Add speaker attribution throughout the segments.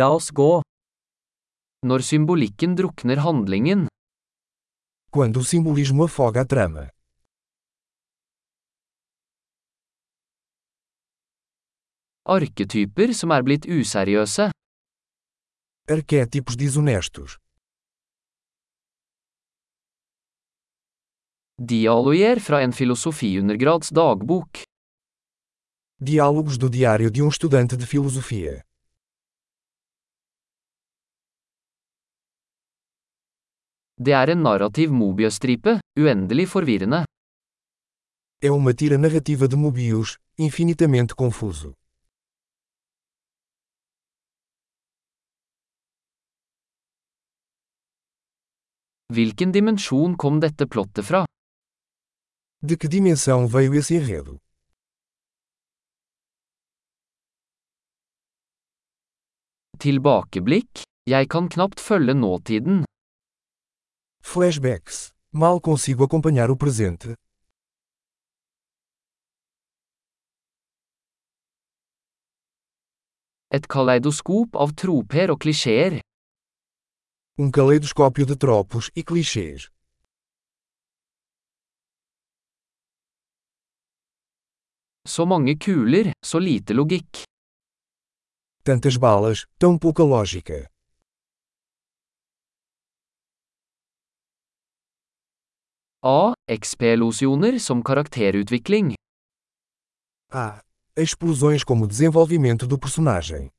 Speaker 1: La oss gå. Når symbolikken drukner handlingen,
Speaker 2: Quando o simbolismo afoga a trama,
Speaker 1: arketyper som er blitt useriøse,
Speaker 2: arquétipos desonestos,
Speaker 1: dialoger fra en filosofiundergrads dagbok,
Speaker 2: diálogos do diário de um estudante de filosofia,
Speaker 1: det er en narrativ mobiøstripe, uendelig forvirrende.
Speaker 2: é uma tira narrativa de Mobius, infinitamente confuso.
Speaker 1: Hvilken dimensjon kom dette plottet fra?
Speaker 2: De que dimensão veio esse enredo?
Speaker 1: Tilbakeblikk? Jeg kan knapt følge nåtiden.
Speaker 2: Flashbacks. Mal consigo acompanhar o presente.
Speaker 1: Et kaleidoskop av troper og klisjeer.
Speaker 2: Um caleidoscópio de tropos e clichês.
Speaker 1: Så mange kuler, så lite logikk.
Speaker 2: Tantas balas, tão pouca lógica.
Speaker 1: A. XP-losjoner som karakterutvikling.
Speaker 2: A. Ah, Explosões como desenvolvimento do personagem.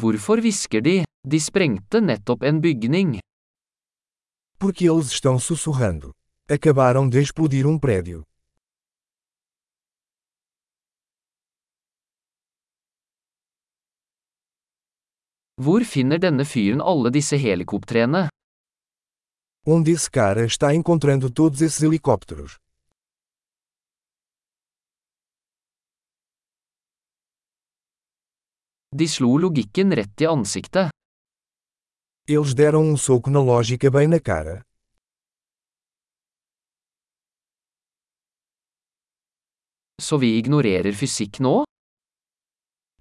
Speaker 1: Hvorfor hvisker de? De sprengte nettopp en bygning.
Speaker 2: Porque eles estão sussurrando. Acabaram de explodir um prédio.
Speaker 1: Hvor finner denne fyren alle disse helikoptrene?
Speaker 2: Onde esse cara está encontrando todos esses helicópteros?
Speaker 1: De slo logikken rett i ansiktet.
Speaker 2: Eles deram um soco na lógica bem na cara.
Speaker 1: Så vi ignorerer fysikk nå?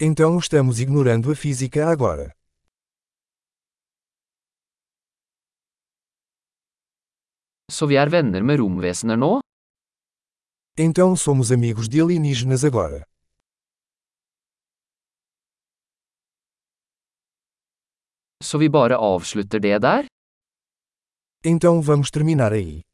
Speaker 2: Então estamos ignorando a física agora.
Speaker 1: Så vi er venner med romvesener nå?
Speaker 2: Então somos amigos de alienígenas agora.
Speaker 1: Så vi bare avslutter det der?
Speaker 2: Então vamos terminar aí.